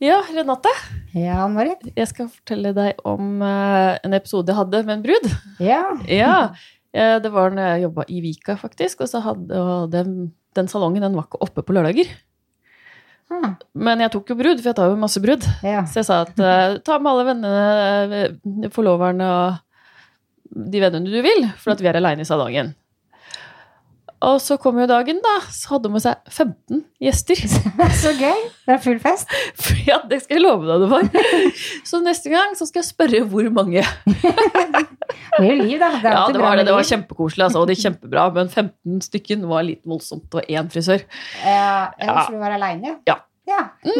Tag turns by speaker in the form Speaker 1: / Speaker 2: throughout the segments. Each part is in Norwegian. Speaker 1: Ja, Renate,
Speaker 2: Ja, Marit.
Speaker 1: jeg skal fortelle deg om eh, en episode jeg hadde med en brud.
Speaker 2: Ja.
Speaker 1: Ja, eh, Det var når jeg jobba i Vika, faktisk. Og så hadde og den, den salongen den var ikke oppe på lørdager.
Speaker 2: Ah,
Speaker 1: Men jeg tok jo brud, for jeg tar jo masse brud.
Speaker 2: ja.
Speaker 1: Så jeg sa at eh, ta med alle vennene, eh, forloverne og de vennene du vil, for at vi er aleine i salongen. Og så kom jo dagen, da. Så hadde hun med seg 15 gjester.
Speaker 2: Så gøy. Det er full fest.
Speaker 1: For ja, det skal jeg love deg det var. Så neste gang så skal jeg spørre hvor mange.
Speaker 2: Det blir liv, da. Det er
Speaker 1: Ja,
Speaker 2: alltid
Speaker 1: det
Speaker 2: bra
Speaker 1: var det.
Speaker 2: med
Speaker 1: Det var
Speaker 2: liv.
Speaker 1: kjempekoselig, altså. Og det er kjempebra. Men 15 stykken var litt voldsomt. Det var én frisør.
Speaker 2: Ja, ja,
Speaker 1: Ja.
Speaker 2: for du var aleine?
Speaker 1: Ja.
Speaker 2: ja.
Speaker 1: ja,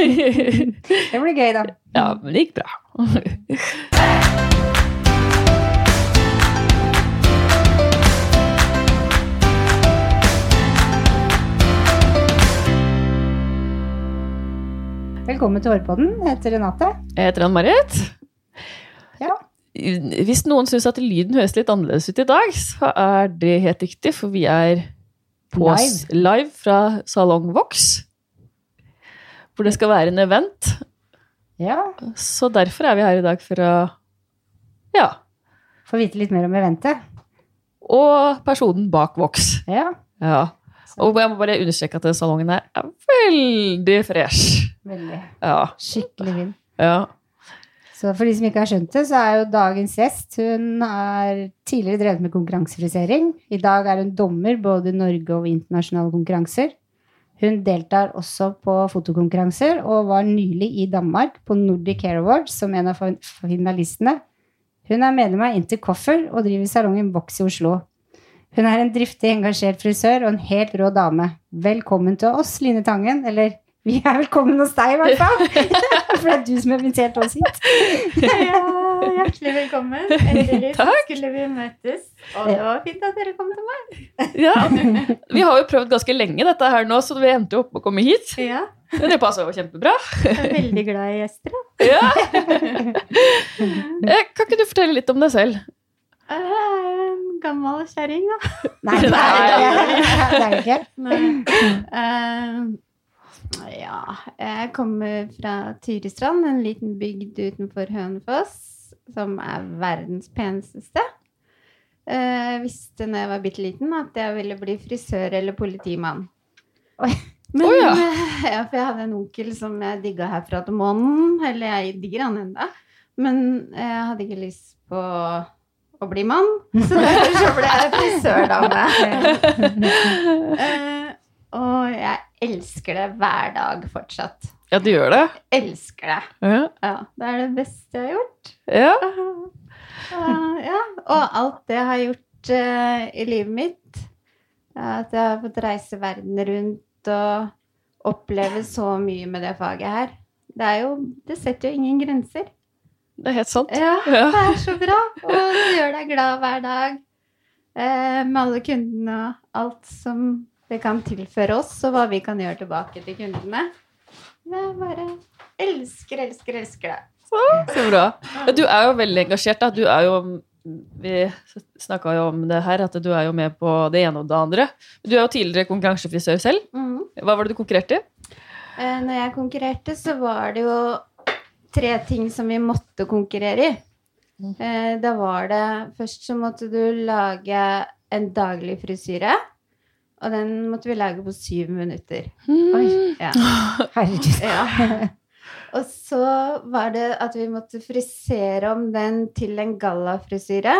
Speaker 2: Det blir gøy, da.
Speaker 1: men det gikk bra.
Speaker 2: Velkommen til Hårpodden. Jeg heter Renate.
Speaker 1: Jeg heter Ann-Marit.
Speaker 2: Ja.
Speaker 1: Hvis noen syns at lyden høres litt annerledes ut i dag, så er det helt riktig, for vi er på s- live fra Salong Vox. Hvor det skal være en event.
Speaker 2: Ja.
Speaker 1: Så derfor er vi her i dag for å Ja.
Speaker 2: Få vite litt mer om eventet.
Speaker 1: Og personen bak Vox.
Speaker 2: Ja.
Speaker 1: Ja.
Speaker 2: Så,
Speaker 1: Og jeg må bare understreke at den salongen her er veldig fresh.
Speaker 2: veldig.
Speaker 1: Ja.
Speaker 2: Skikkelig fin.
Speaker 1: ja.
Speaker 2: Så for de som ikke har skjønt det, så er jo dagens gjest Hun har tidligere drevet med konkurransefrisering. I dag er hun dommer både i Norge og internasjonale konkurranser. Hun deltar også på fotokonkurranser og var nylig i Danmark på Nordic Care Awards som en av fin- finalistene. Hun er medlem av Intercoffer og driver salongen Vox i Oslo. Hun er en driftig, engasjert frisør og en helt rå dame. Velkommen til oss, Line Tangen. Eller vi er velkommen hos deg, i hvert fall. For det er du som har invitert oss hit.
Speaker 3: Ja, hjertelig velkommen. Endelig så
Speaker 1: Takk.
Speaker 3: skulle vi møtes. Og det var fint at dere kom til meg.
Speaker 1: ja. Vi har jo prøvd ganske lenge dette her nå, så vi endte jo opp med å komme hit.
Speaker 3: Ja,
Speaker 1: Men det passer jo kjempebra.
Speaker 3: jeg er veldig glad i gjester. da.
Speaker 1: Ja. Eh, Kan ikke du fortelle litt om deg selv?
Speaker 3: Jeg er jo en gammel kjerring, da.
Speaker 2: Nei, det er det ikke. Det er det ikke.
Speaker 3: Men, eh, ja, jeg kommer fra Tyristrand, en liten bygd utenfor Hønefoss, som er verdens peneste sted. Eh, Jeg visste når jeg var bitte liten at jeg ville bli frisør eller politimann.
Speaker 2: Oi.
Speaker 3: Men,
Speaker 1: Å, ja.
Speaker 3: eh, ja, for jeg hadde en onkel som jeg digga herfra til månen. Eller jeg digger han enda. Men jeg hadde ikke lyst på å bli mann, så derfor så ble jeg frisørdame. Eh, og jeg elsker det hver dag fortsatt.
Speaker 1: Ja, du gjør det.
Speaker 3: Elsker det.
Speaker 1: Ja.
Speaker 3: Ja, det er det beste jeg har gjort.
Speaker 1: ja.
Speaker 3: Eh, ja. Og alt det jeg har gjort eh, i livet mitt. eh, At jeg har fått reise verden rundt og oppleve så mye med det faget her. Det, er jo, det setter jo ingen grenser.
Speaker 1: Det er helt sant.
Speaker 3: Ja,
Speaker 1: Ja.
Speaker 3: det er så bra. Og det gjør deg glad hver dag. Eh, med alle kundene og alt som det kan tilføre oss, og hva vi kan gjøre tilbake til kundene. Det er bare elsker, elsker, elsker det.
Speaker 1: Så bra. Ja, Du er jo veldig engasjert. Da. Du er jo Vi snakka jo om det her, at du er jo med på det ene og det andre. Du er jo tidligere konkurransefrisør selv.
Speaker 3: Mhm.
Speaker 1: Hva var det du konkurrerte i?
Speaker 3: Eh, Når jeg konkurrerte, så var det jo tre ting som vi måtte konkurrere i.
Speaker 1: Mm.
Speaker 3: Eh, Da var det Først så måtte du lage en daglig frisyre. Og den måtte vi lage på syv minutter.
Speaker 1: Mm.
Speaker 2: Oi.
Speaker 3: Ja.
Speaker 2: Herregud.
Speaker 3: Ja. Og så var det at vi måtte frisere om den til en gallafrisyre.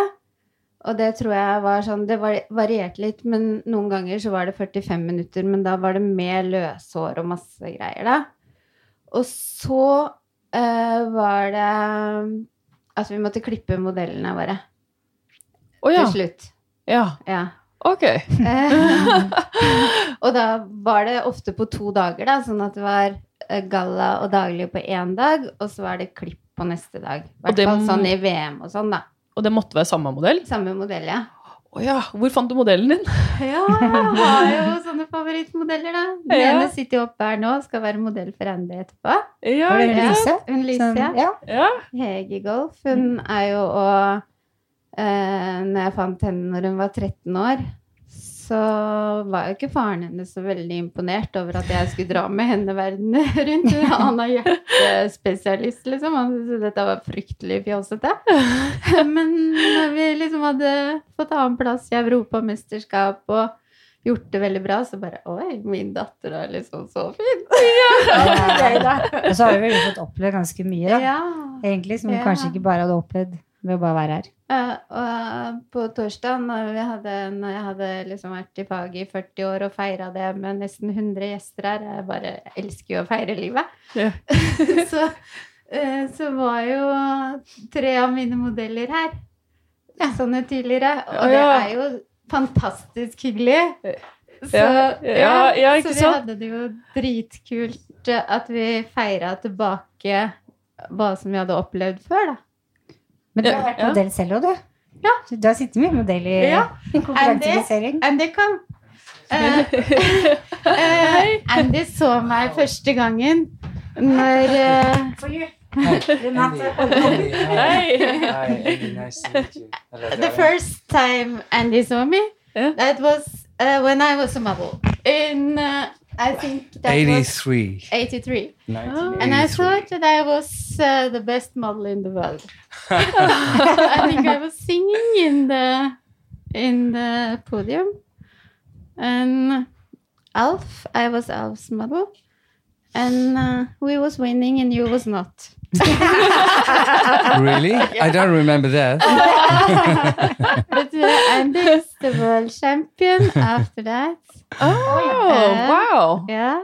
Speaker 3: Og det tror jeg var sånn Det var- varierte litt, men noen ganger så var det 45 minutter. Men da var det med løshår og masse greier, da. Og så eh, var det at vi måtte klippe modellene våre
Speaker 1: Å ja.
Speaker 3: til slutt.
Speaker 1: ja.
Speaker 3: Ja.
Speaker 1: Ok.
Speaker 3: Eh, og da var det ofte på to dager, da, sånn at det var eh, galla og daglig på én dag, og så var det klipp på neste dag. I
Speaker 1: Og
Speaker 3: hvert
Speaker 1: det
Speaker 3: fall
Speaker 1: må-
Speaker 3: sånn i VM og sånn, da.
Speaker 1: Og det måtte være samme modell?
Speaker 3: Samme modell, ja.
Speaker 1: Å ja. Hvor fant du modellen din?
Speaker 3: Ja, jeg har jo sånne favorittmodeller, da. Den
Speaker 1: Ja.
Speaker 3: ene sitter jo oppe her nå og skal være modell for Andy etterpå.
Speaker 1: Ja,
Speaker 2: Var det
Speaker 1: ja.
Speaker 2: Lise?
Speaker 3: Hun Lise.
Speaker 2: Som-
Speaker 3: ja.
Speaker 2: ja.
Speaker 1: ja.
Speaker 3: Hege Golf. Hun er jo og eh, Når jeg fant henne når hun var 13 år, så var jo ikke faren hennes så veldig imponert over at jeg skulle dra med henne verden rundt. Han er hjertespesialist, liksom. Han syntes jo dette var fryktelig fjåsete. Men når vi liksom hadde fått annen plass i Europamesterskap og gjort det veldig bra, så bare Oi, min datter er liksom så fin!
Speaker 2: Eh, Og så har vi vel fått opplevd ganske mye, da.
Speaker 3: Ja.
Speaker 2: Egentlig, som vi
Speaker 3: Ja.
Speaker 2: kanskje ikke bare hadde opplevd ved å bare være her.
Speaker 3: Eh, og eh, på torsdag, når, vi hadde, når jeg hadde liksom vært i faget i 40 år og feira det med nesten 100 gjester her Jeg bare elsker jo å feire livet.
Speaker 1: Ja.
Speaker 3: så, eh, så var jo tre av mine modeller her. Sånne tidligere.
Speaker 1: Ja,
Speaker 3: Og det
Speaker 1: ja.
Speaker 3: er jo fantastisk hyggelig. Så,
Speaker 1: Ja, ja, ja, ikke
Speaker 3: så vi
Speaker 1: sant?
Speaker 3: hadde det jo dritkult eh, at vi feira tilbake hva som vi hadde opplevd før, da.
Speaker 2: Men du har
Speaker 1: Ja,
Speaker 2: vært
Speaker 1: ja.
Speaker 2: modell selv òg, du.
Speaker 3: Ja.
Speaker 2: Så Du har sittet mye modell i
Speaker 3: Ja.
Speaker 2: i konkurranseplassering.
Speaker 3: Andy, kom. Eh, eh, Andy så meg første gangen når eh,
Speaker 4: Andy, hi.
Speaker 1: Hey.
Speaker 4: Hi, Andy, nice to meet you. Hello,
Speaker 3: The
Speaker 4: darling.
Speaker 3: first time Andy saw me,
Speaker 1: Yeah.
Speaker 3: that was eh, when I was a model. In, eh, I think that was
Speaker 4: 83.
Speaker 3: 83.
Speaker 4: 1983.
Speaker 3: And I thought that I was eh, the best model in the world. I think I was singing in the in the podium, and Alf, I was Alf's model, and uh, we was winning and you was not.
Speaker 4: Really? I don't remember
Speaker 1: Uh,
Speaker 4: that.
Speaker 3: But uh, Andy is the world champion after that.
Speaker 1: Oh, wow.
Speaker 3: Yeah.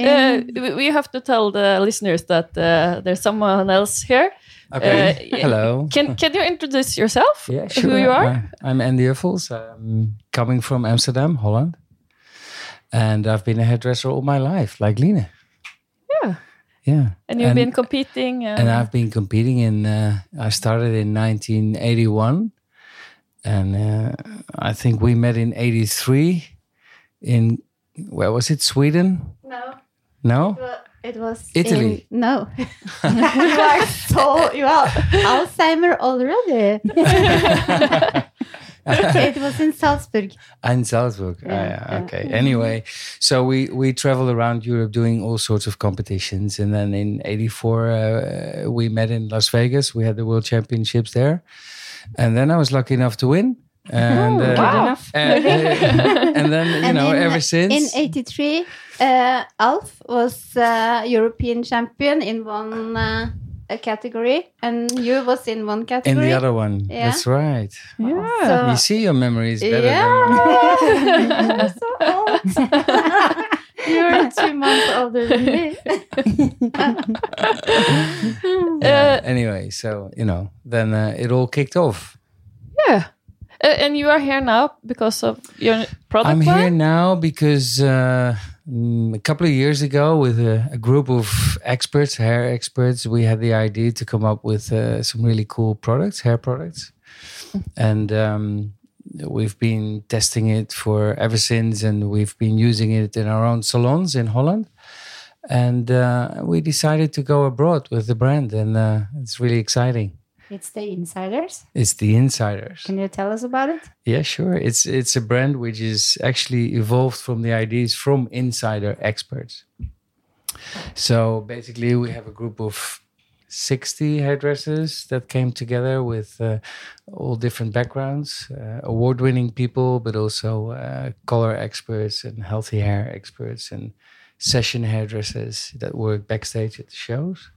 Speaker 1: Uh,
Speaker 3: In-
Speaker 1: we- we have to tell the listeners that uh, there's someone else here.
Speaker 4: Okay.
Speaker 1: Uh,
Speaker 4: Hello.
Speaker 1: Can, can you introduce yourself?
Speaker 4: Yeah,
Speaker 1: Who
Speaker 4: sure.
Speaker 1: you are?
Speaker 4: I- I'm Andy Uffels. I'm coming from Amsterdam, Holland. And I've been a hairdresser all my life, like Lina.
Speaker 1: Yeah.
Speaker 4: Yeah.
Speaker 1: And you've
Speaker 4: and-
Speaker 1: been competing. uh,
Speaker 4: And I've been competing in, uh, I started in 1981. And uh, I think we met in 83 in, where was it? Sweden?
Speaker 3: no,
Speaker 4: No?
Speaker 3: it was
Speaker 4: Italy.
Speaker 3: in- no, you are so you are Alzheimer already. it was in Salzburg.
Speaker 4: And Salzburg. Ah,
Speaker 3: Yeah,
Speaker 4: yeah,
Speaker 3: yeah.
Speaker 4: okay. Anyway, so we we travel around Europe doing all sorts of competitions, and then in '84 uh, we met in Las Vegas. We had the World Championships there, and then I was lucky enough to win. And, uh,
Speaker 1: wow.
Speaker 4: and, uh, and then you
Speaker 3: Oh, And
Speaker 4: know,
Speaker 3: in-
Speaker 4: ever since.
Speaker 3: In 83, uh, Alf was uh, European champion in one uh, uh, category, and you was in one
Speaker 4: in
Speaker 3: category.
Speaker 4: the other one,
Speaker 3: Yeah. Uh,
Speaker 4: that's right.
Speaker 1: yeah.
Speaker 4: you see, your memory is better than mine.
Speaker 3: yeah, so old. You're two months older than me.
Speaker 4: Yeah. anyway, so you know, then uh, it all kicked off.
Speaker 1: yeah. Uh, and you are here now because of your product
Speaker 4: I'm
Speaker 1: line?
Speaker 4: here now because uh, mm, a couple of years ago, with a, a group of experts, hair experts, we had the idea to come up with uh, some really cool products, hair products, and um, we've been testing it for ever since, and we've been using it in our own salons in Holland. And uh, we decided to go abroad with the brand, and uh, it's really exciting.
Speaker 2: It's the insiders.
Speaker 4: It's the insiders.
Speaker 2: Can you tell us about it?
Speaker 4: Yeah, sure. It's it's a brand which is actually evolved from the ideas from insider experts. So basically, we have a group of sixty hairdressers that came together with uh, all different backgrounds, uh, award-winning people, but also uh, color experts and healthy hair experts and session hairdressers that work backstage at the shows.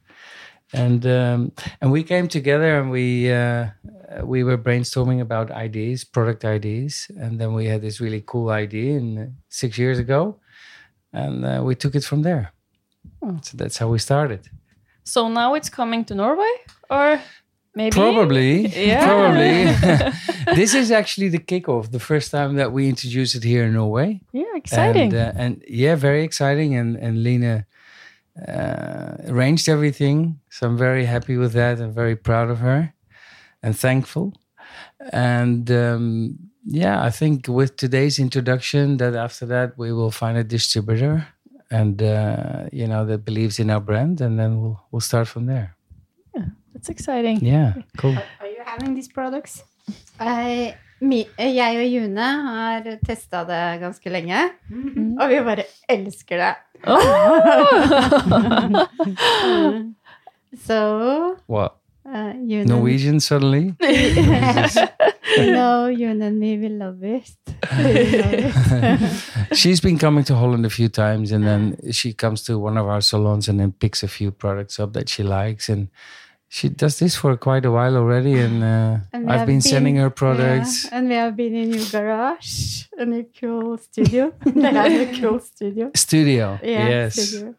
Speaker 4: And um, and we came together and we. Uh, uh, we were brainstorming about ideas, product ideas, and then we had this really cool idea in uh, six years ago, and uh, we took it from there.
Speaker 1: Hmm.
Speaker 4: So that's how we started.
Speaker 1: So now it's coming to Norway? Or maybe?
Speaker 4: Probably,
Speaker 1: Yeah.
Speaker 4: probably. this is actually the kickoff, the first time that we introduced it here in Norway.
Speaker 1: Yeah, exciting.
Speaker 4: And, uh, and yeah, very exciting. And and Lena uh, arranged everything, so I'm very happy with that and very proud of her and thankful. And um, yeah, I think with today's introduction, that after that we will find a distributor and uh, you know that believes in our brand, and then we'll we'll start from there.
Speaker 1: That's exciting.
Speaker 4: Yeah, cool.
Speaker 2: Are you having these products?
Speaker 3: I Mi, jeg og June har testa det ganske lenge, og vi bare elsker det.
Speaker 4: Oh.
Speaker 3: So
Speaker 4: What?
Speaker 3: uh, June,
Speaker 4: Norwegian suddenly?
Speaker 3: no, June and me, we love it. We love it.
Speaker 4: She's been coming to Holland a few times, and then she comes to one of our salons and then picks a few products up that she likes, and she does this for quite a while already. And, uh,
Speaker 3: And we
Speaker 4: I've
Speaker 3: have
Speaker 4: been, sending
Speaker 3: been-
Speaker 4: her products.
Speaker 3: Yeah, and we have been in your garage, in a cool studio. They have a cool studio.
Speaker 4: Studio,
Speaker 3: Yeah,
Speaker 4: yes.
Speaker 3: studio.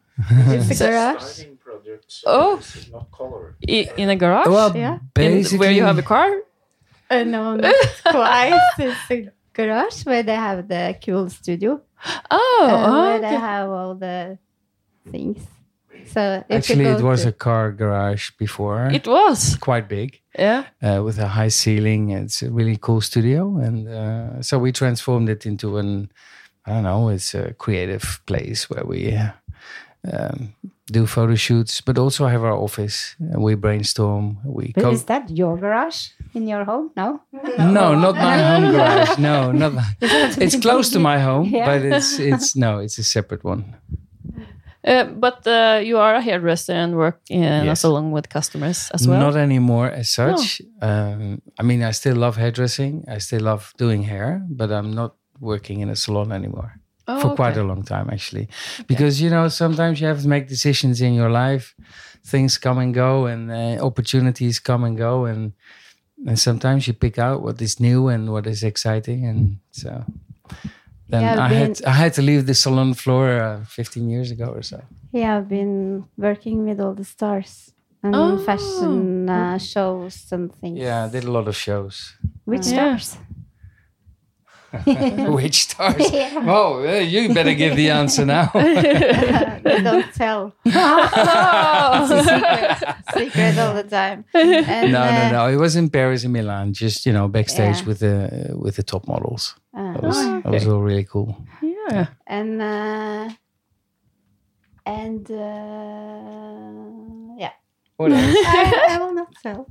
Speaker 3: It's a garage.
Speaker 5: Styling product, so
Speaker 1: Oh.
Speaker 5: this is not color.
Speaker 1: I- In a garage?
Speaker 4: Well,
Speaker 3: Yeah.
Speaker 1: In,
Speaker 4: basically,
Speaker 1: where you have a car?
Speaker 3: Uh, no, not twice. It's a garage where they have the cool studio.
Speaker 1: Oh,
Speaker 3: uh, where
Speaker 1: okay.
Speaker 3: they have all the things. So if you
Speaker 4: actually,
Speaker 3: go
Speaker 4: it was
Speaker 3: to-
Speaker 4: a car garage before,
Speaker 1: It was.
Speaker 4: quite big,
Speaker 1: Yeah.
Speaker 4: uh, with a high ceiling. It's a really cool studio, and uh, so we transformed it into an I don't know, it's a creative place where we uh, um, do photo shoots, but also have our office. And we brainstorm. We
Speaker 2: But
Speaker 4: co-
Speaker 2: is that your garage in your home? No?
Speaker 4: no, not my home garage. No, not. my- it's close to my home,
Speaker 2: Yeah.
Speaker 4: but it's it's no, it's a separate one.
Speaker 1: Uh, but uh, you are a hairdresser and work in a
Speaker 4: Yes.
Speaker 1: salon with customers as well.
Speaker 4: Not anymore as such. Um, I mean, I still love hairdressing. I still love doing hair, but I'm not working in a salon anymore
Speaker 1: Oh,
Speaker 4: for quite
Speaker 1: okay.
Speaker 4: a long time, actually. Because, you know, sometimes you have to make decisions in your life. Things come and go, and uh, opportunities come and go. And, and sometimes you pick out what is new and what is exciting. And so. Then
Speaker 3: Yeah,
Speaker 4: I
Speaker 3: been-
Speaker 4: had I had to leave the salon floor uh, 15 years ago or so.
Speaker 3: Yeah, I've been working with all the stars and
Speaker 1: Oh.
Speaker 3: fashion uh, shows and things.
Speaker 4: Yeah, I did a lot of shows.
Speaker 2: Which
Speaker 1: Yeah.
Speaker 2: stars?
Speaker 4: Which stars? Oh, eh, you better give the answer now.
Speaker 3: They don't tell. Secret all the time. And,
Speaker 4: no, no,
Speaker 3: uh,
Speaker 4: no. It was in Paris and Milan, just you know, backstage
Speaker 3: Yeah.
Speaker 4: with the with the top models.
Speaker 3: uh,
Speaker 4: That was that was all really cool.
Speaker 1: yeah.
Speaker 3: and uh, and uh, yeah,
Speaker 4: What else?
Speaker 3: I, I will not tell.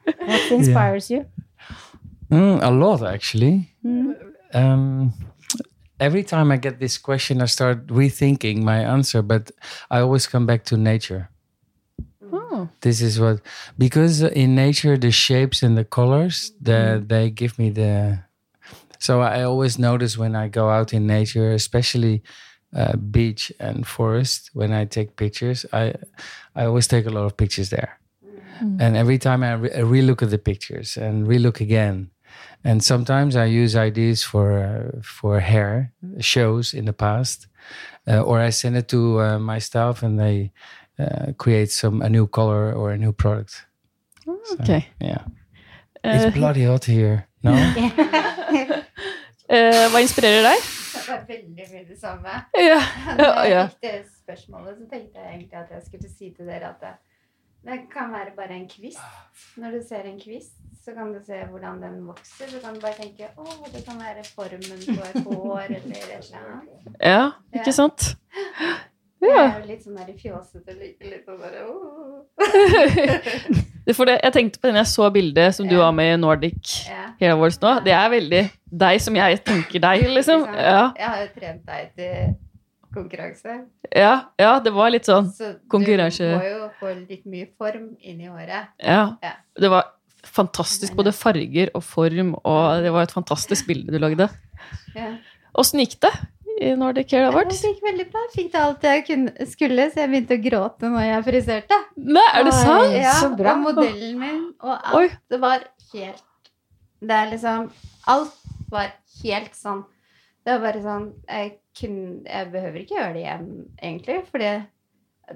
Speaker 2: What inspires you?
Speaker 4: Mm, a lot actually. Um, every time I get this question, I start rethinking my answer, but I always come back to nature.
Speaker 1: Oh.
Speaker 4: This is what because in nature the shapes and the colors the, they give me the. So I always notice when I go out in nature, especially uh, beach and forest, when I take pictures, I I always take a lot of pictures there, and every time I, re- I relook at the pictures and relook again, and sometimes I use ideas for uh, for hair shows in the past, uh, or I send it to uh, my staff and they uh, create some a new color or a new product.
Speaker 1: oh, Okay.
Speaker 4: Yeah,
Speaker 1: Eh,
Speaker 4: it's bloody hot here. No,
Speaker 1: eh, hva inspirerer deg?
Speaker 3: Det var veldig mye det samme.
Speaker 1: Ja.
Speaker 3: Da
Speaker 1: ja.
Speaker 3: jeg fikk det spørsmålet, så tenkte jeg egentlig at jeg skulle si til dere at det, det kan være bare en kvist. Når du ser en kvist, så kan du se hvordan den vokser. Så kan du bare tenke å, det kan være formen på et hår eller et eller annet.
Speaker 1: ja. Ikke sant?
Speaker 3: Det
Speaker 1: Ja.
Speaker 3: er jo litt sånn der fjåsete like litt sånn bare «Åh».
Speaker 1: Det- For det, jeg tenkte på den jeg så bildet som du
Speaker 3: Ja.
Speaker 1: var med i Nordic
Speaker 3: Ja.
Speaker 1: Hair Awards nå. Det er veldig deg som jeg tenker deg, liksom.
Speaker 3: Ikke sant?
Speaker 1: Ja,
Speaker 3: Jeg har jo trent deg til konkurranse.
Speaker 1: ja, ja det var litt sånn.
Speaker 3: Så
Speaker 1: Konkurranse.
Speaker 3: du må jo få litt mye form inn i håret.
Speaker 1: Ja.
Speaker 3: Ja.
Speaker 1: Det var fantastisk, både farger og form, og det var et fantastisk bilde du lagde.
Speaker 3: Ja.
Speaker 1: Åssen gikk det i Nordic Hair
Speaker 3: Jeg
Speaker 1: Awards?
Speaker 3: fikk veldig bra. Jeg Fikk det alt jeg kunne, skulle, så jeg begynte å gråte når jeg friserte.
Speaker 1: Nei, er det
Speaker 2: Oi.
Speaker 1: sant?
Speaker 3: Ja,
Speaker 2: så bra.
Speaker 3: Og modellen min og alt.
Speaker 1: Oi.
Speaker 3: Det var helt Det er liksom Alt var helt sånn. Det var bare sånn Jeg, kunne, jeg behøver ikke gjøre det igjen, egentlig, fordi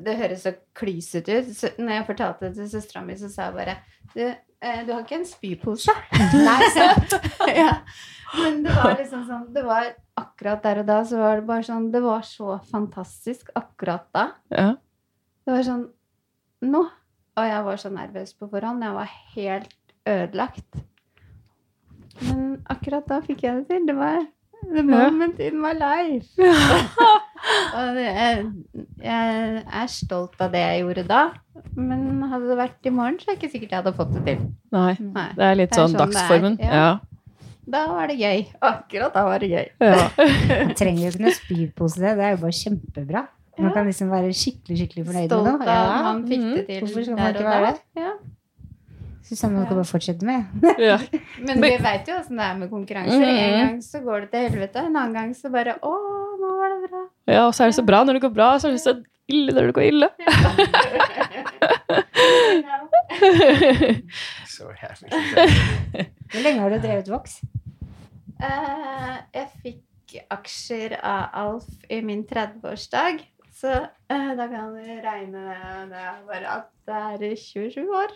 Speaker 3: det høres så klysete ut. Så når jeg fortalte det til søstera mi, så sa jeg bare Du, eh, du har ikke en spypose? Nei, sant? ja. Men det var liksom sånn Det var akkurat der og da, så var det bare sånn Det var så fantastisk akkurat da.
Speaker 1: Ja.
Speaker 3: Det var sånn Nå! Og jeg var så nervøs på forhånd. Jeg var helt ødelagt. Men akkurat da fikk jeg det til. Det var the
Speaker 1: Ja.
Speaker 3: moment in my life. Og det, jeg, jeg er stolt av det jeg gjorde da, men hadde det vært i morgen, så er det ikke sikkert jeg hadde fått det til.
Speaker 1: Nei.
Speaker 2: Mm.
Speaker 3: Nei.
Speaker 1: Det er litt
Speaker 3: Det er
Speaker 1: sånn
Speaker 3: sånn det er,
Speaker 1: dagsformen.
Speaker 3: ja.
Speaker 1: Ja.
Speaker 3: Da var det gøy. Akkurat da var det gøy.
Speaker 1: ja.
Speaker 2: Man trenger jo ikke noe spypose, det. Det er jo bare kjempebra. Man kan liksom være skikkelig skikkelig fornøyd
Speaker 3: Stolt
Speaker 2: med
Speaker 3: av
Speaker 2: noe.
Speaker 3: at
Speaker 2: Ja. Mm.
Speaker 3: man fikk det til
Speaker 2: Hvorfor skal man
Speaker 3: der og
Speaker 2: ikke være
Speaker 3: da.
Speaker 2: det?
Speaker 3: Ja.
Speaker 2: Susanne, man kan bare fortsette med.
Speaker 1: ja.
Speaker 3: Men vi veit jo åssen det er med konkurranser. En
Speaker 1: Mhm.
Speaker 3: gang så går det til helvete, en annen gang så bare Å, nå var det bra.
Speaker 1: ja, og så er det så bra når det går bra, så er det så ille når det går ille.
Speaker 4: So happy.
Speaker 2: Hvor lenge har du drevet voks?
Speaker 3: Eh, jeg fikk aksjer av Alf i min 30-årsdag, så eh, da kan du regne det er bare at det er 27 år.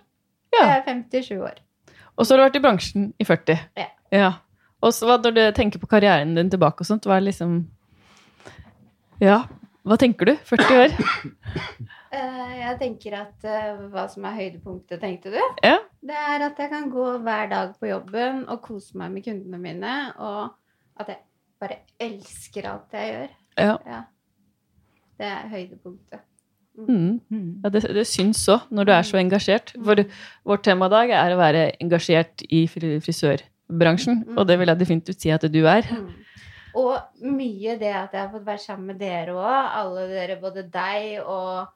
Speaker 1: Ja.
Speaker 3: Jeg er 57 år.
Speaker 1: Og så har du vært i bransjen i 40.
Speaker 3: Ja.
Speaker 1: Og så hva- når du tenker på karrieren din tilbake og sånt, hva er liksom Ja, hva tenker du? 40 år?
Speaker 3: Eh, jeg tenker at eh, hva som er høydepunktet, tenkte du?
Speaker 1: Ja.
Speaker 3: Det er at jeg kan gå hver dag på jobben og kose meg med kundene mine, og at jeg bare elsker alt jeg gjør.
Speaker 1: Ja.
Speaker 3: Det er høydepunktet.
Speaker 1: Mm.
Speaker 2: Mm.
Speaker 1: ja det, det syns òg, når du er så engasjert. For vårt tema i dag er å være engasjert i fri- frisørbransjen, og det vil jeg definitivt si at du er.
Speaker 3: Mm. Og mye det at jeg har fått være sammen med dere òg. Alle dere, både deg og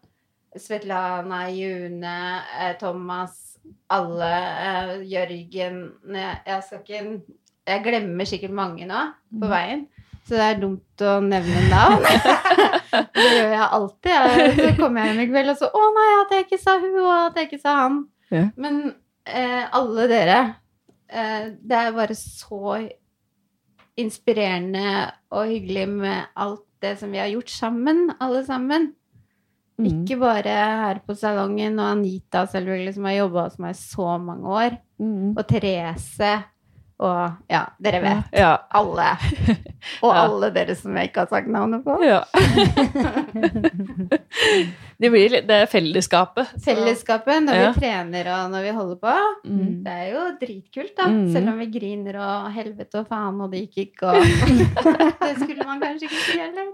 Speaker 3: Svetlana, June, eh, Thomas, alle. Eh, Jørgen jeg, jeg skal ikke Jeg glemmer sikkert mange nå på veien. Så det er dumt å nevne navn. det gjør jeg alltid. Jeg, så kommer jeg hjem i kveld og så Å nei, at jeg ikke sa hun, og at jeg ikke sa han.
Speaker 1: Ja.
Speaker 3: Men eh, alle dere eh, Det er bare så inspirerende og hyggelig med alt det som vi har gjort sammen, alle sammen.
Speaker 1: Mm.
Speaker 3: Ikke bare her på salongen og Anita, selvfølgelig, som har jobba hos meg i så mange år.
Speaker 1: Mm.
Speaker 3: Og Therese. Og ja, dere vet.
Speaker 1: Ja.
Speaker 3: Alle. Og
Speaker 1: Ja.
Speaker 3: alle dere som jeg ikke har sagt navnet på.
Speaker 1: ja. det blir litt det er fellesskapet. så-
Speaker 3: Fellesskapet når
Speaker 1: Ja.
Speaker 3: vi trener og når vi holder på.
Speaker 1: Mm.
Speaker 3: Det er jo dritkult, da.
Speaker 1: Mm.
Speaker 3: Selv om vi griner og helvete og faen, og det gikk ikke, og Det skulle man kanskje ikke si heller.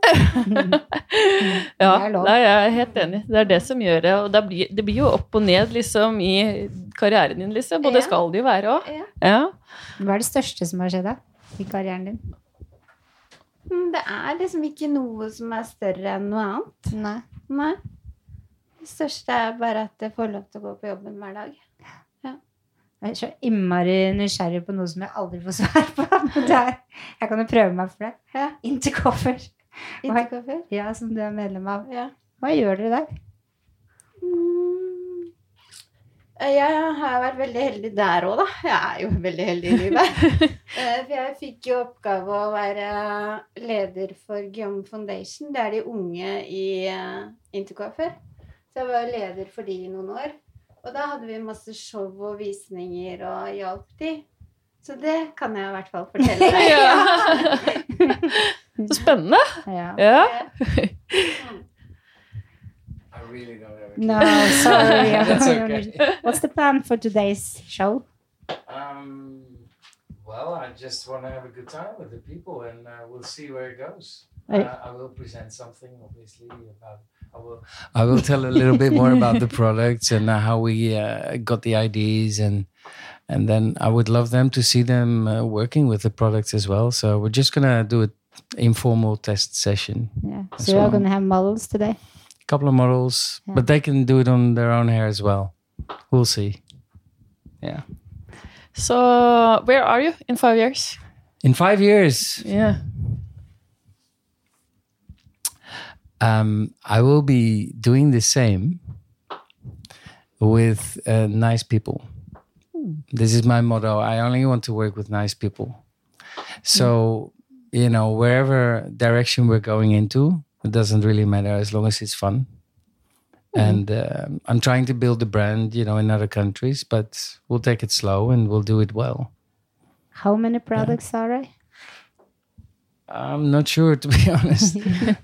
Speaker 1: Ja,
Speaker 2: Det er lov.
Speaker 1: nei, jeg er helt enig. Det er det som gjør det. Og det blir, det blir jo opp og ned liksom, i karrieren din, liksom. Og det
Speaker 3: Ja.
Speaker 1: skal det jo være òg.
Speaker 3: Ja.
Speaker 1: Ja.
Speaker 2: Hva er det største som har skjedd da, i karrieren din?
Speaker 3: Mm, Det er liksom ikke noe som er større enn noe annet.
Speaker 2: Nei.
Speaker 3: Nei. Det største er bare at jeg får lov til å gå på jobben hver dag.
Speaker 2: Jeg er så innmari nysgjerrig på noe som jeg aldri får svar på. Men det er, jeg kan jo prøve meg for det.
Speaker 3: Ja.
Speaker 2: Intercover. Hva,
Speaker 3: Ikke kaffe.
Speaker 2: ja, som du er medlem av.
Speaker 3: Ja.
Speaker 2: Hva gjør dere der?
Speaker 3: Mm. Eh, Jeg har vært veldig heldig der òg, da. Jeg er jo veldig heldig i livet. Eh, For jeg fikk jo oppgave å være leder for Guillaume Foundation. Det er de unge i eh, Intercofer. Så jeg var jo leder for de i noen år. Og da hadde vi masse show og visninger og hjalp de. Så det kan jeg i hvert fall fortelle deg.
Speaker 1: Ja. Så spennende.
Speaker 2: Ja.
Speaker 1: Ja.
Speaker 3: Mm.
Speaker 4: I really don't have a
Speaker 2: No,
Speaker 4: clue.
Speaker 2: sorry.
Speaker 4: That's okay.
Speaker 2: What's the plan for today's show?
Speaker 4: Um, well, I just want to have a good time with the people, and uh, we'll see where it goes.
Speaker 2: Right.
Speaker 4: Uh, I will present something, obviously. About, I will. I will tell a little bit more about the products and uh, how we uh, got the ideas, and and then I would love them to see them uh, working with the products as well. So we're just gonna do an informal test session,
Speaker 2: Yeah.
Speaker 4: That's
Speaker 2: So you are
Speaker 4: all.
Speaker 2: going to have models today?
Speaker 4: a couple of models,
Speaker 2: Yeah.
Speaker 4: but they can do it on their own hair as well. We'll see. Yeah,
Speaker 1: Så where are you in five years?
Speaker 4: in five years.
Speaker 1: Yeah.
Speaker 4: um, I will be doing the same with uh, nice people. This is my motto. I only want to work with nice people. So, you know, wherever direction we're going into, it doesn't really matter as long as it's fun. And um I'm trying to build the brand, you know, in other countries, but we'll take it slow and we'll do it well.
Speaker 2: How many products are there?
Speaker 4: I'm not sure, to be honest.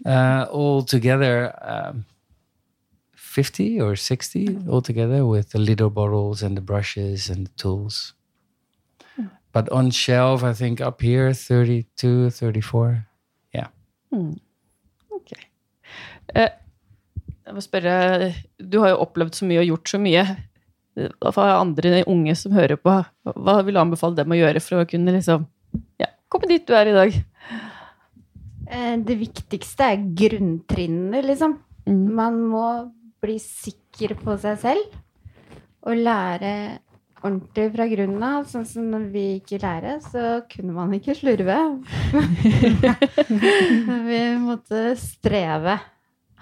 Speaker 4: uh, all together, um, 50 or 60 all together with the little bottles and the brushes and the tools. But on shelf, I think up here, 32, 34.
Speaker 1: Mm. Okay. Eh, Jeg må spørre, du har jo opplevd så mye og gjort så mye. For andre unge som hører på, hva vil du anbefale dem å gjøre for å kunne liksom ja, komme dit du er i dag?
Speaker 3: Eh, Det viktigste er grunntrinnene, liksom.
Speaker 1: Mm.
Speaker 3: Man må bli sikker på seg selv og lære ordentlig fra grunnen av. Sånn som når vi gikk i lære, så kunne man ikke slurve. vi måtte streve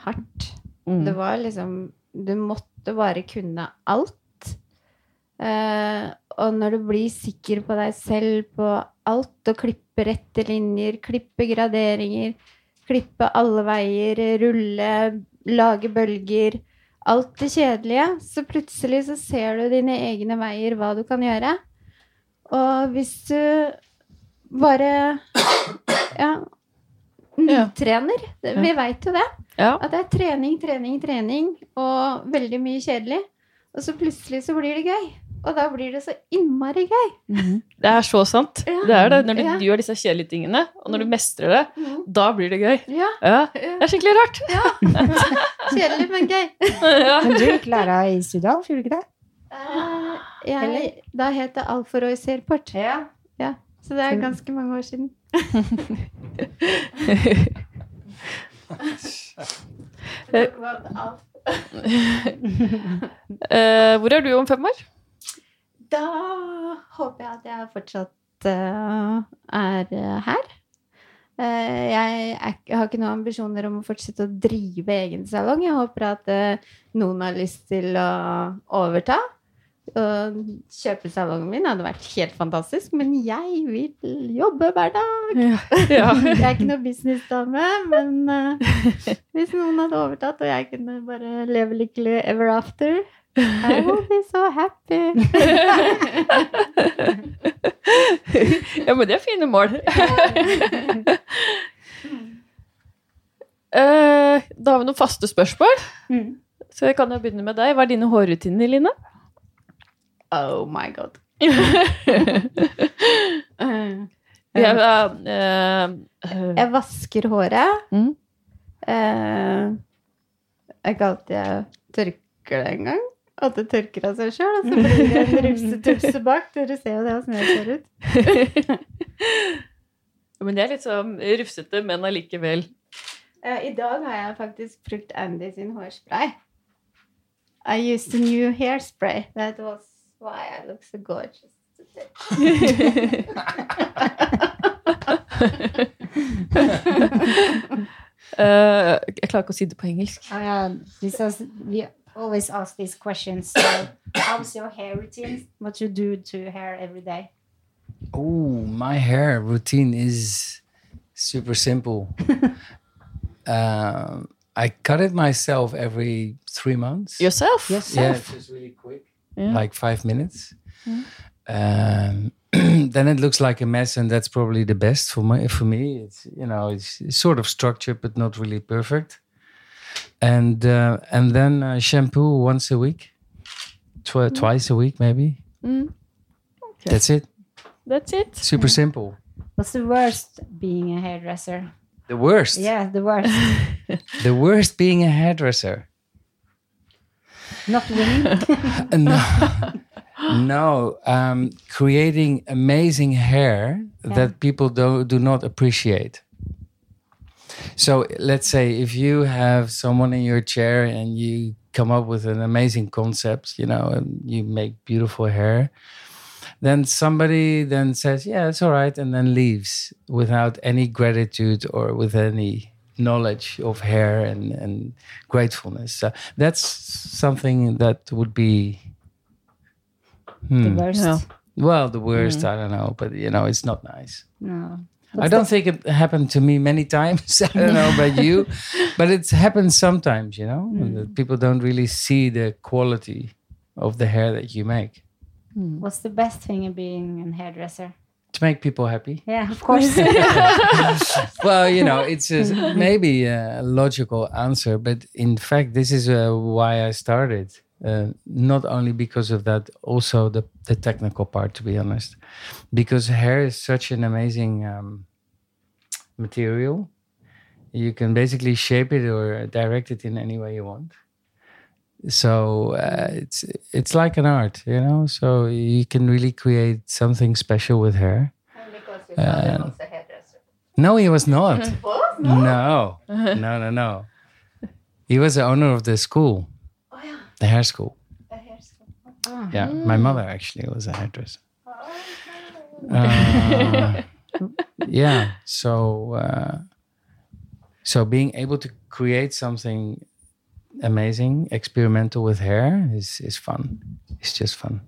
Speaker 3: hardt. Det
Speaker 1: Mm.
Speaker 3: var liksom Du måtte bare kunne alt. Eh, og når du blir sikker på deg selv på alt, og klippe rette linjer, klippe graderinger, klippe alle veier, rulle, lage bølger Alt det kjedelige. Så plutselig så ser du dine egne veier, hva du kan gjøre. Og hvis du bare Ja.
Speaker 1: Ja.
Speaker 3: Nytrener. Vi veit jo det.
Speaker 1: Ja.
Speaker 3: At det er trening, trening, trening, og veldig mye kjedelig. Og så plutselig så blir det gøy. Og da blir det så innmari gøy.
Speaker 4: Mm-hmm.
Speaker 1: Det er så sant.
Speaker 3: Ja.
Speaker 1: Det er det. Når du
Speaker 3: Ja.
Speaker 1: gjør disse kjedelige tingene, og når du mestrer det, da blir det gøy.
Speaker 3: Ja,
Speaker 1: Ja. Det
Speaker 3: ja.
Speaker 1: er skikkelig rart.
Speaker 3: Kjedelig, men gøy.
Speaker 1: Ja.
Speaker 2: Men du gikk læra i Sudal, gjorde du ikke det?
Speaker 3: Eh, Jeg, da het det Alforoys Airport. Ja, så det er ganske mange år siden.
Speaker 1: Eh, hvor er du om fem år?
Speaker 3: Da håper jeg at jeg fortsatt eh, er eh, her. Eh, jeg, er, ikke- har ikke noen ambisjoner om å fortsette å drive egen salong. Jeg håper at eh, noen har lyst til å overta. Og kjøpe salongen min hadde vært helt fantastisk, men jeg vil jobbe hver dag.
Speaker 1: Ja.
Speaker 3: Jeg er ikke noe businessdame, men eh, hvis noen hadde overtatt, og jeg kunne bare leve lykkelig ever after, I will be so happy.
Speaker 1: ja, men det er fine mål. Eh, da har vi noen faste spørsmål,
Speaker 2: Mm.
Speaker 1: så jeg kan jo begynne med deg. Hva er dine hårrutiner, Line?
Speaker 3: Oh my god.
Speaker 1: Jeg, eh, eh,
Speaker 3: Jeg vasker håret.
Speaker 1: Mm.
Speaker 3: Eh, jeg kalte jeg tørker det en gang. At det tørker av seg sjøl, og så blir det en rufsetufse bak. Dere ser jo det åssen det ser ut.
Speaker 1: men det er litt sånn rufsete, men allikevel.
Speaker 3: Eh, I dag har jeg faktisk brukt Andy sin hårspray. I used a new hairspray. That was why I look so gorgeous. today.
Speaker 1: Eh, jeg klarer ikke å si det på engelsk.
Speaker 2: Oh, yeah. This is, we always ask these questions. So, how's your hair routine? What you do to your hair every day?
Speaker 4: Oh, my hair routine is super simple. um, I cut it myself every three months.
Speaker 1: Yourself?
Speaker 4: Yeah, it's just really quick,
Speaker 1: Yeah. Mm-hmm.
Speaker 4: like five minutes. Um, then it looks like a mess, and that's probably the best for my for me. It's you know it's, it's sort of structured, but not really perfect. And uh, and then uh, shampoo once a week, tw- twice a week maybe.
Speaker 1: Mm. Mm-hmm. Okay.
Speaker 4: That's it.
Speaker 1: That's it.
Speaker 4: Super simple.
Speaker 2: What's the worst being a hairdresser?
Speaker 4: The worst.
Speaker 2: Yeah, the worst.
Speaker 4: The worst being a hairdresser.
Speaker 2: Not winning.
Speaker 4: Uh, no, no. Um, creating amazing hair that people do, do not appreciate. So let's say if you have someone in your chair and you come up with an amazing concept, you know, and you make beautiful hair, then somebody then says, "Yeah, it's all right," and then leaves without any gratitude or with any knowledge of hair and, and gratefulness. So that's something that would be
Speaker 2: the
Speaker 4: hmm,
Speaker 2: worst. Mm-hmm.
Speaker 1: Yeah.
Speaker 4: well the worst. I don't know, but you know, it's not nice.
Speaker 2: No.
Speaker 4: I don't think it happened to me many times. I don't know about you, but it's happened sometimes, you know, that people don't really see the quality of the hair that you make.
Speaker 2: What's the best thing of being a hairdresser?
Speaker 4: To make people happy.
Speaker 2: Yeah, of course.
Speaker 4: Well, you know, it's just maybe a logical answer, but in fact, this is uh, why I started. Uh, not only because of that, also the, the technical part, to be honest, because hair is such an amazing um, material. You can basically shape it or direct it in any way you want. So uh, it's it's like an art, you know. So you can really create something special with hair. Uh, no, he was not. No, no, no, no. He was the owner of the school, the hair school. Yeah, my mother actually was a hairdresser. Uh, yeah, so uh, so being able to create something amazing, experimental with hair is is fun. It's just fun.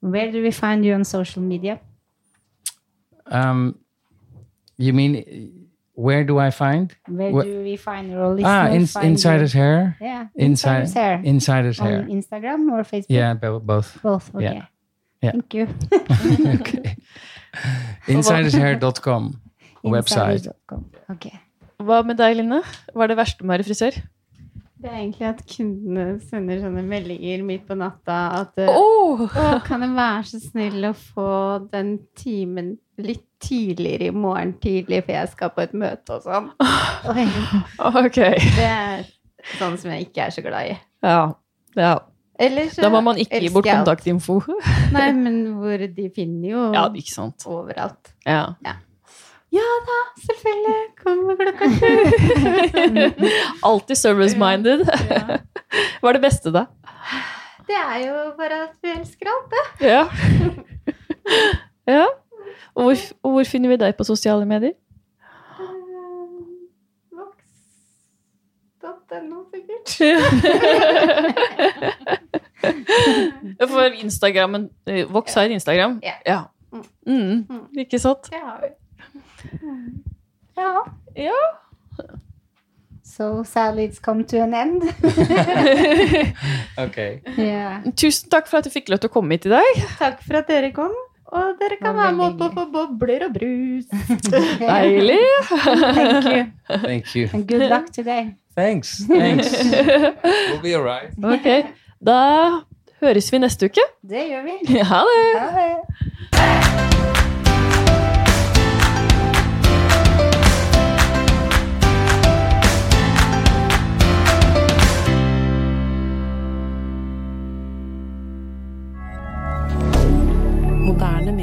Speaker 2: Where do we find you on social media?
Speaker 4: Um, you mean uh, where do I find?
Speaker 2: Where
Speaker 4: Wh-
Speaker 2: do we find your listeners?
Speaker 4: ah, in,
Speaker 2: find
Speaker 4: insider's hair.
Speaker 2: You? Yeah.
Speaker 4: Inside,
Speaker 2: Insider's hair.
Speaker 4: Insider's
Speaker 2: on
Speaker 4: hair.
Speaker 2: Instagram or Facebook?
Speaker 4: Yeah, bo- both.
Speaker 2: Both. Okay.
Speaker 4: Yeah. Yeah.
Speaker 2: Thank you.
Speaker 4: okay. Insidershair.com website.
Speaker 2: Insiders.com. Okay.
Speaker 1: Hva med deg, Line? Hva er det verste med å være frisør?
Speaker 3: Det er egentlig at kundene sender sånne meldinger midt på natta at eh,
Speaker 1: Oh!
Speaker 3: Å, kan du være så snill å få den timen litt tidligere i morgen tidlig, for jeg skal på et møte og sånn.
Speaker 1: Ok.
Speaker 3: Det er sånn som jeg ikke er så glad i.
Speaker 1: Ja. ja.
Speaker 3: Ellers
Speaker 1: Da må man ikke gi bort
Speaker 3: elsker jeg alt.
Speaker 1: kontaktinfo.
Speaker 3: Nei, men hvor de finner jo
Speaker 1: Ja, ikke sant.
Speaker 3: overalt.
Speaker 1: Ja.
Speaker 3: Selvfølgelig. Kom klokka sju.
Speaker 1: Alltid service-minded.
Speaker 3: Ja.
Speaker 1: Hva er det beste, da?
Speaker 3: Det er jo bare at vi elsker alt, det.
Speaker 1: Ja. ja. Og hvor, og hvor finner vi deg på sosiale medier?
Speaker 3: Eh, Vox.no, sikkert.
Speaker 1: For Instagrammen eh, Vox har Instagram?
Speaker 3: Ja.
Speaker 1: Mm. Ikke sant?
Speaker 3: Det har vi. Ja.
Speaker 2: So sadly it's come to an end.
Speaker 4: Okay.
Speaker 2: yeah.
Speaker 1: Tusen takk for at jeg fikk lov til å komme hit i dag.
Speaker 3: Takk for at dere kom. Og dere
Speaker 2: Det
Speaker 3: kan
Speaker 2: var
Speaker 3: være med
Speaker 2: veldig
Speaker 3: opp og få bobler og brus.
Speaker 1: Deilig.
Speaker 2: Thank you.
Speaker 4: Thank you.
Speaker 2: And good luck today.
Speaker 4: Thanks. Thanks. we'll be all right.
Speaker 1: Ok. Da høres vi neste uke.
Speaker 2: Det gjør vi.
Speaker 1: Ha det!
Speaker 2: Ha det.
Speaker 5: Moderne